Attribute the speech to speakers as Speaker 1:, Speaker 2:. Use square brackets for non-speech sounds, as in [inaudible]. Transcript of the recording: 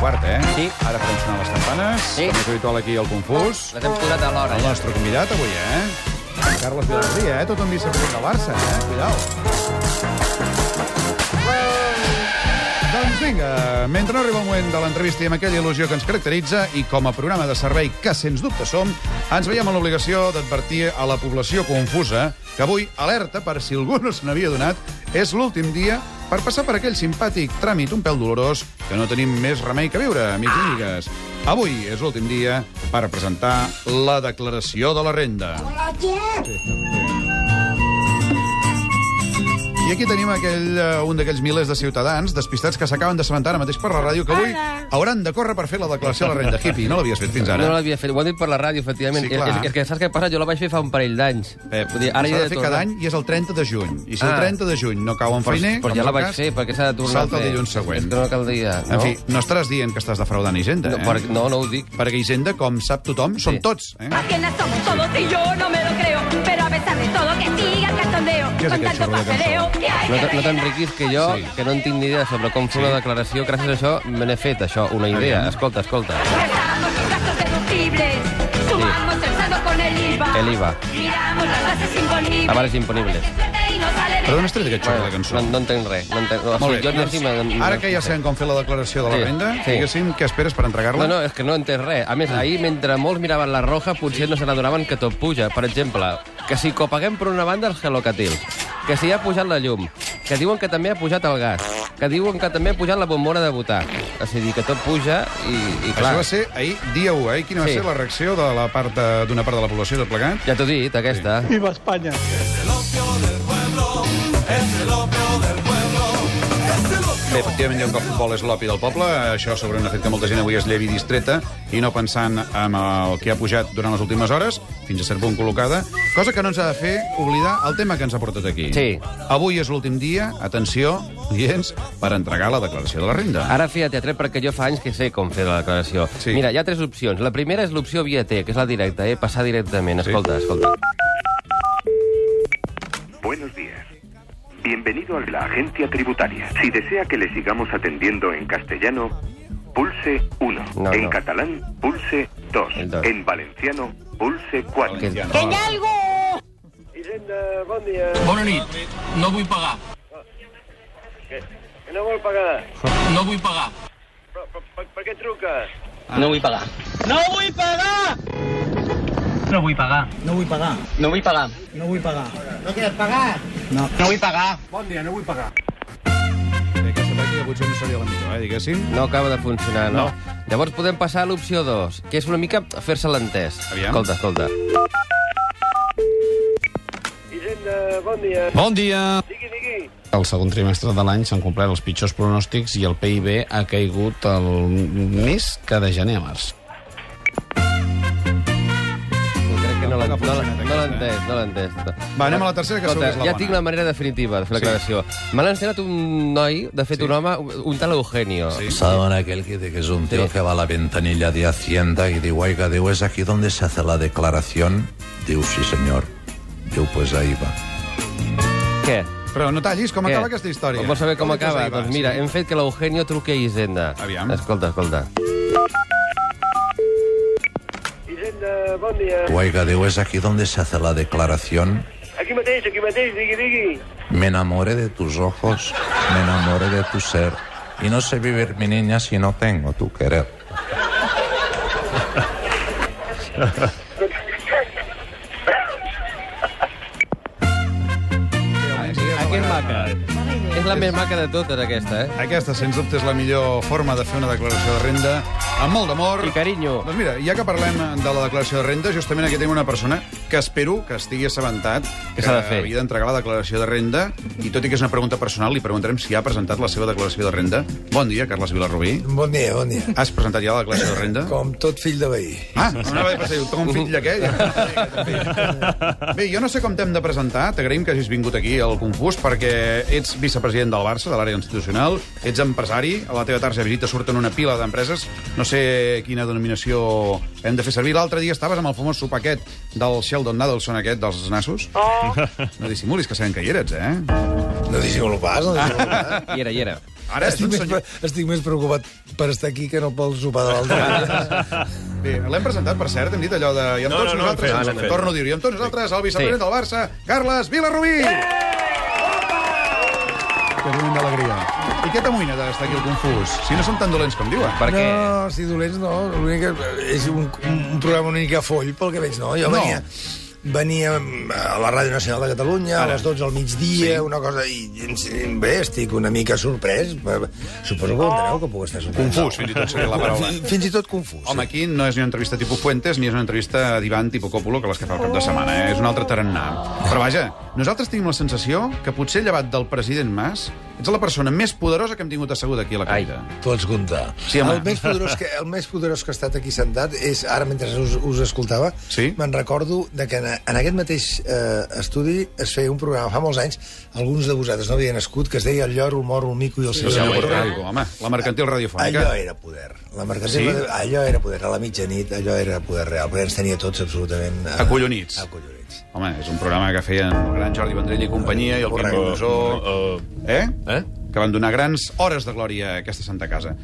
Speaker 1: quart, eh?
Speaker 2: Sí.
Speaker 1: Ara farem sonar les campanes.
Speaker 2: Sí.
Speaker 1: Com és habitual aquí al Confús.
Speaker 2: Les hem posat a l'hora,
Speaker 1: El
Speaker 2: ja.
Speaker 1: nostre convidat avui, eh? Carles Vilarria, eh? Tothom diu sempre del Barça, eh? Cuidao. Doncs vinga, mentre no arriba el moment de l'entrevista i amb aquella il·lusió que ens caracteritza i com a programa de servei que, sens dubte, som, ens veiem amb l'obligació d'advertir a la població confusa que avui, alerta, per si algú no se n'havia donat, és l'últim dia per passar per aquell simpàtic tràmit un pèl dolorós que no tenim més remei que viure, amics i amigues. Avui és l'últim dia per presentar la declaració de la renda. I aquí tenim aquell, eh, un d'aquells milers de ciutadans despistats que s'acaben d'assabentar ara mateix per la ràdio que avui hauran de córrer per fer la declaració de la renda. Hippie, no l'havies fet fins
Speaker 3: No
Speaker 1: ara.
Speaker 3: l'havia fet, ho ha dit per la ràdio, efectivament.
Speaker 1: Sí,
Speaker 3: és,
Speaker 1: clar. Eh,
Speaker 3: és, és que saps què passa? Jo la vaig fer fa un parell d'anys.
Speaker 1: Pep,
Speaker 3: eh, Vull dir,
Speaker 1: s'ha
Speaker 3: hi
Speaker 1: de
Speaker 3: he
Speaker 1: fer
Speaker 3: tornar.
Speaker 1: cada any i és el 30 de juny. I si el
Speaker 3: Ah.
Speaker 1: 30 de juny no cau en feiner...
Speaker 3: Però
Speaker 1: en
Speaker 3: ja la
Speaker 1: tot
Speaker 3: vaig
Speaker 1: cas,
Speaker 3: fer, perquè s'ha de tornar
Speaker 1: salta
Speaker 3: a
Speaker 1: el
Speaker 3: fer.
Speaker 1: dilluns següent.
Speaker 3: És que no caldria, no?
Speaker 1: En fi, no estaràs dient que estàs defraudant Hisenda,
Speaker 3: no,
Speaker 1: eh?
Speaker 3: per, no, no ho dic.
Speaker 1: Perquè Hisenda, com sap tothom, són
Speaker 3: Sí.
Speaker 1: tots, eh?
Speaker 4: Apenas somos todos y yo no me lo creo. Pero a pesar de todo, que siga el cachondeo.
Speaker 1: ¿Qué es
Speaker 4: Con
Speaker 1: aquel
Speaker 4: tanto
Speaker 1: chorro de
Speaker 4: papeleo. que hay
Speaker 3: No,
Speaker 4: que
Speaker 3: te- no
Speaker 4: rellenar.
Speaker 3: t'enriquis, que jo,
Speaker 1: Sí.
Speaker 3: que no en tinc ni idea sobre com fer una declaració, gràcies a això me n'he fet, això, una idea.
Speaker 1: Aviam.
Speaker 3: Escolta, escolta.
Speaker 4: Restamos los gastos deductibles. Sumamos el saldo con el IVA.
Speaker 3: El IVA. Ah,
Speaker 4: Miramos las bases imponibles.
Speaker 3: Avales imponibles.
Speaker 1: Però d'on has tret aquest xorro de cançó?
Speaker 3: No, no entenc res. No entenc, no, o
Speaker 1: Molt
Speaker 3: sigui,
Speaker 1: bé.
Speaker 3: jo ni doncs,
Speaker 1: Ara que ja sabem com fer la declaració de la
Speaker 3: Sí,
Speaker 1: renda,
Speaker 3: sí.
Speaker 1: diguéssim, què esperes per
Speaker 3: No,
Speaker 1: entregar-la?
Speaker 3: no, és que no entès res. A més, ahir, mentre molts miraven la roja, potser no se n'adonaven que tot puja. Per exemple, que si copaguem per una banda els Hello Catil, que si ha pujat la llum, que diuen que també ha pujat el gas, que diuen que també ha pujat la bombona de votar. És a dir, que tot puja i, i
Speaker 1: Això
Speaker 3: clar...
Speaker 1: va ser ahir, dia 1, eh? I Quina va
Speaker 3: Sí.
Speaker 1: ser la reacció de la part de- d'una part de la població tot plegat?
Speaker 3: Ja t'ho he dit, aquesta.
Speaker 5: Viva España.
Speaker 1: Bé, efectivament, diuen que el futbol és l'opi del poble. Això sobre un fet que molta gent avui es llevi distreta i no pensant en el que ha pujat durant les últimes hores, fins a cert punt col·locada, cosa que no ens ha de fer oblidar el tema que ens ha portat aquí.
Speaker 3: Sí.
Speaker 1: Avui és l'últim dia, atenció, clients, per entregar la declaració de la renda.
Speaker 3: Ara feia teatre perquè jo fa anys que sé com fer la declaració.
Speaker 1: Sí.
Speaker 3: Mira, hi ha tres opcions. La primera és l'opció via T, que és la directa, eh? passar directament. Escolta, escolta.
Speaker 6: Buenos días. Bienvenido a la agencia tributaria. Si desea que le sigamos atendiendo en castellano, pulse 1.
Speaker 3: No,
Speaker 6: en
Speaker 3: no.
Speaker 6: catalán, pulse 2.
Speaker 3: El dos.
Speaker 6: En valenciano, pulse 4.
Speaker 3: Que...
Speaker 7: Hisenda, bon dia.
Speaker 8: Bona nit. No vull pagar.
Speaker 7: Que, que no vol pagar.
Speaker 8: No vull pagar.
Speaker 7: Però, però, per, per què truca?
Speaker 8: No vull pagar.
Speaker 5: No voy a pagar.
Speaker 8: No vull pagar.
Speaker 5: No voy a pagar.
Speaker 8: No vull pagar.
Speaker 5: No voy a pagar. No quieres pagar. No.
Speaker 8: No vull pagar.
Speaker 1: Bé, Aquesta tàctica potser no seria la millor, eh, diguéssim.
Speaker 3: No acaba de funcionar, no?
Speaker 1: No.
Speaker 3: Llavors podem passar a l'opció 2, que és una mica fer-se l'entès.
Speaker 1: Aviam.
Speaker 3: Escolta, escolta.
Speaker 7: Hisenda, bon dia.
Speaker 9: Bon dia!
Speaker 7: Digui, digui.
Speaker 9: El segon trimestre de l'any s'han complert els pitjors pronòstics i el PIB ha caigut el més que de gener a març.
Speaker 3: Jo crec que no l'ha-
Speaker 1: Tampoc ha
Speaker 3: no l'ha-
Speaker 1: funcionat
Speaker 3: no l'ha
Speaker 1: aquesta,
Speaker 3: entès, no l'ha entès.
Speaker 1: eh? Va, anem a la tercera, que segur
Speaker 3: Escolta,
Speaker 1: que és la
Speaker 3: ja
Speaker 1: bona.
Speaker 3: tinc la manera definitiva de fer la
Speaker 1: Sí.
Speaker 3: declaració. Me l'ha ensenyat un noi, de fet un home, un- un tal Eugenio.
Speaker 1: Sí.
Speaker 10: Saben aquel que, de que es un tío que va a la ventanilla de Hacienda y digo, oiga, digo, ¿es aquí donde se hace la declaración? Digo, sí, señor. Digo, pues ahí va.
Speaker 3: Què?
Speaker 1: Però no tallis, com
Speaker 3: Què?
Speaker 1: acaba aquesta història?
Speaker 3: Vols saber com
Speaker 1: Escolta,
Speaker 3: acaba?
Speaker 1: ahí va,
Speaker 3: Doncs mira,
Speaker 1: sí.
Speaker 3: hem fet que l'Eugenio truqui a Hisenda.
Speaker 1: Aviam.
Speaker 3: Escolta, escolta.
Speaker 7: Hisenda, bon dia.
Speaker 10: Oiga, digo, ¿es aquí donde se hace la declaración?
Speaker 7: Aquí mateix, aquí mateix, digui, digui.
Speaker 10: Me enamoré de tus ojos, me enamoré de tu ser. Y no sé vivir, mi niña, si no tengo tu querer.
Speaker 3: Aquest maca. És la més maca de totes, aquesta, eh?
Speaker 1: Aquesta, sens dubte, és la millor forma de fer una declaració de renda amb molt d'amor.
Speaker 3: I carinyo.
Speaker 1: Doncs mira, ja que parlem de la declaració de renda, justament aquí tenim una persona que espero que estigui assabentat
Speaker 3: Què s'ha de fer?
Speaker 1: havia d'entregar la declaració de renda i tot i que és una pregunta personal, li preguntarem si ha presentat la seva declaració de renda. Bon dia, Carles Vilarrubí.
Speaker 11: Bon dia, bon dia.
Speaker 1: Has presentat ja la declaració de renda?
Speaker 11: Com tot fill de veí.
Speaker 1: Ah, no anava a passar, diu, com
Speaker 11: [laughs]
Speaker 1: un fill d'aquell. Bé, jo no sé com t'hem de presentar, t'agraïm que hagis vingut aquí al Confús, perquè ets vicepresident del Barça, de l'àrea institucional, ets empresari, a la teva targeta de visita surten una pila d'empreses, no sé quina denominació hem de fer servir. L'altre dia estaves amb el famós sopar aquest del Sheldon Nadelson aquest dels nassos. Oh. No dissimulis, que sabem que hi eres, eh?
Speaker 11: No dissimulo pas, no dissimulo pas.
Speaker 3: Hi era, hi era.
Speaker 1: Ara és
Speaker 11: estic,
Speaker 1: un
Speaker 11: més,
Speaker 1: senyor...
Speaker 11: pre- estic més preocupat per estar aquí que no pel sopar
Speaker 1: [laughs]
Speaker 11: de l'altre.
Speaker 1: Bé, l'hem presentat, per cert, hem dit allò de... I amb
Speaker 2: No,
Speaker 1: tots
Speaker 2: no, no,
Speaker 1: nosaltres,
Speaker 2: no, no,
Speaker 1: ens-
Speaker 2: no, no, no.
Speaker 1: torno a dir-ho, i amb tots nosaltres, el vicepresident
Speaker 2: Sí.
Speaker 1: del Barça, Carles Vilarrubí! Que moment d'alegria. I què t'amoïna d'estar aquí al Confús? Si no som tan dolents com diuen.
Speaker 11: No, si dolents no. L'únic que- eh, És un, un un programa una mica foll, pel que veig, no? Jo
Speaker 1: No.
Speaker 11: venia... Venia eh, a la Ràdio Nacional de Catalunya a les 12 al migdia, sí. una cosa... I, i, bé, estic una mica sorprès. Suposo que enteneu que puc estar sorprès.
Speaker 1: Confús, fins i tot seria la paraula.
Speaker 11: Fins, fins i tot confús.
Speaker 1: Home, aquí no és ni una entrevista tipus Fuentes ni és una entrevista divan tipus Còpolo, que les que fa el cap de setmana, eh? és un altre tarannà. Però vaja, nosaltres tenim la sensació que potser llevat del president Mas, ets la persona més poderosa que hem tingut asseguda aquí a la Caire.
Speaker 11: T'ho has comptar.
Speaker 1: Sí, home.
Speaker 11: el, més poderós que, el més poderós que ha estat aquí sentat és, ara mentre us, us escoltava, sí? me'n recordo de que en, en aquest mateix eh, estudi es feia un programa fa molts anys, alguns de vosaltres no havien nascut, que es deia El lloro, el moro, el mico i el
Speaker 1: Sí,
Speaker 11: senyor.
Speaker 1: senyor
Speaker 11: Borrell.
Speaker 1: Borrell, home, la mercantil radiofònica.
Speaker 11: Allò era poder. La mercantil,
Speaker 1: Sí?
Speaker 11: sí? Allò era poder, a la mitjanit, allò era poder real, perquè ens tenia tots absolutament... eh,
Speaker 1: Acollonits.
Speaker 11: Acollonits.
Speaker 1: Home, és un programa que feien el gran Jordi Vendrell i companyia i el Quim
Speaker 11: Correcte.
Speaker 1: Rosó... Eh? Eh? Que van donar grans hores de glòria a aquesta santa casa.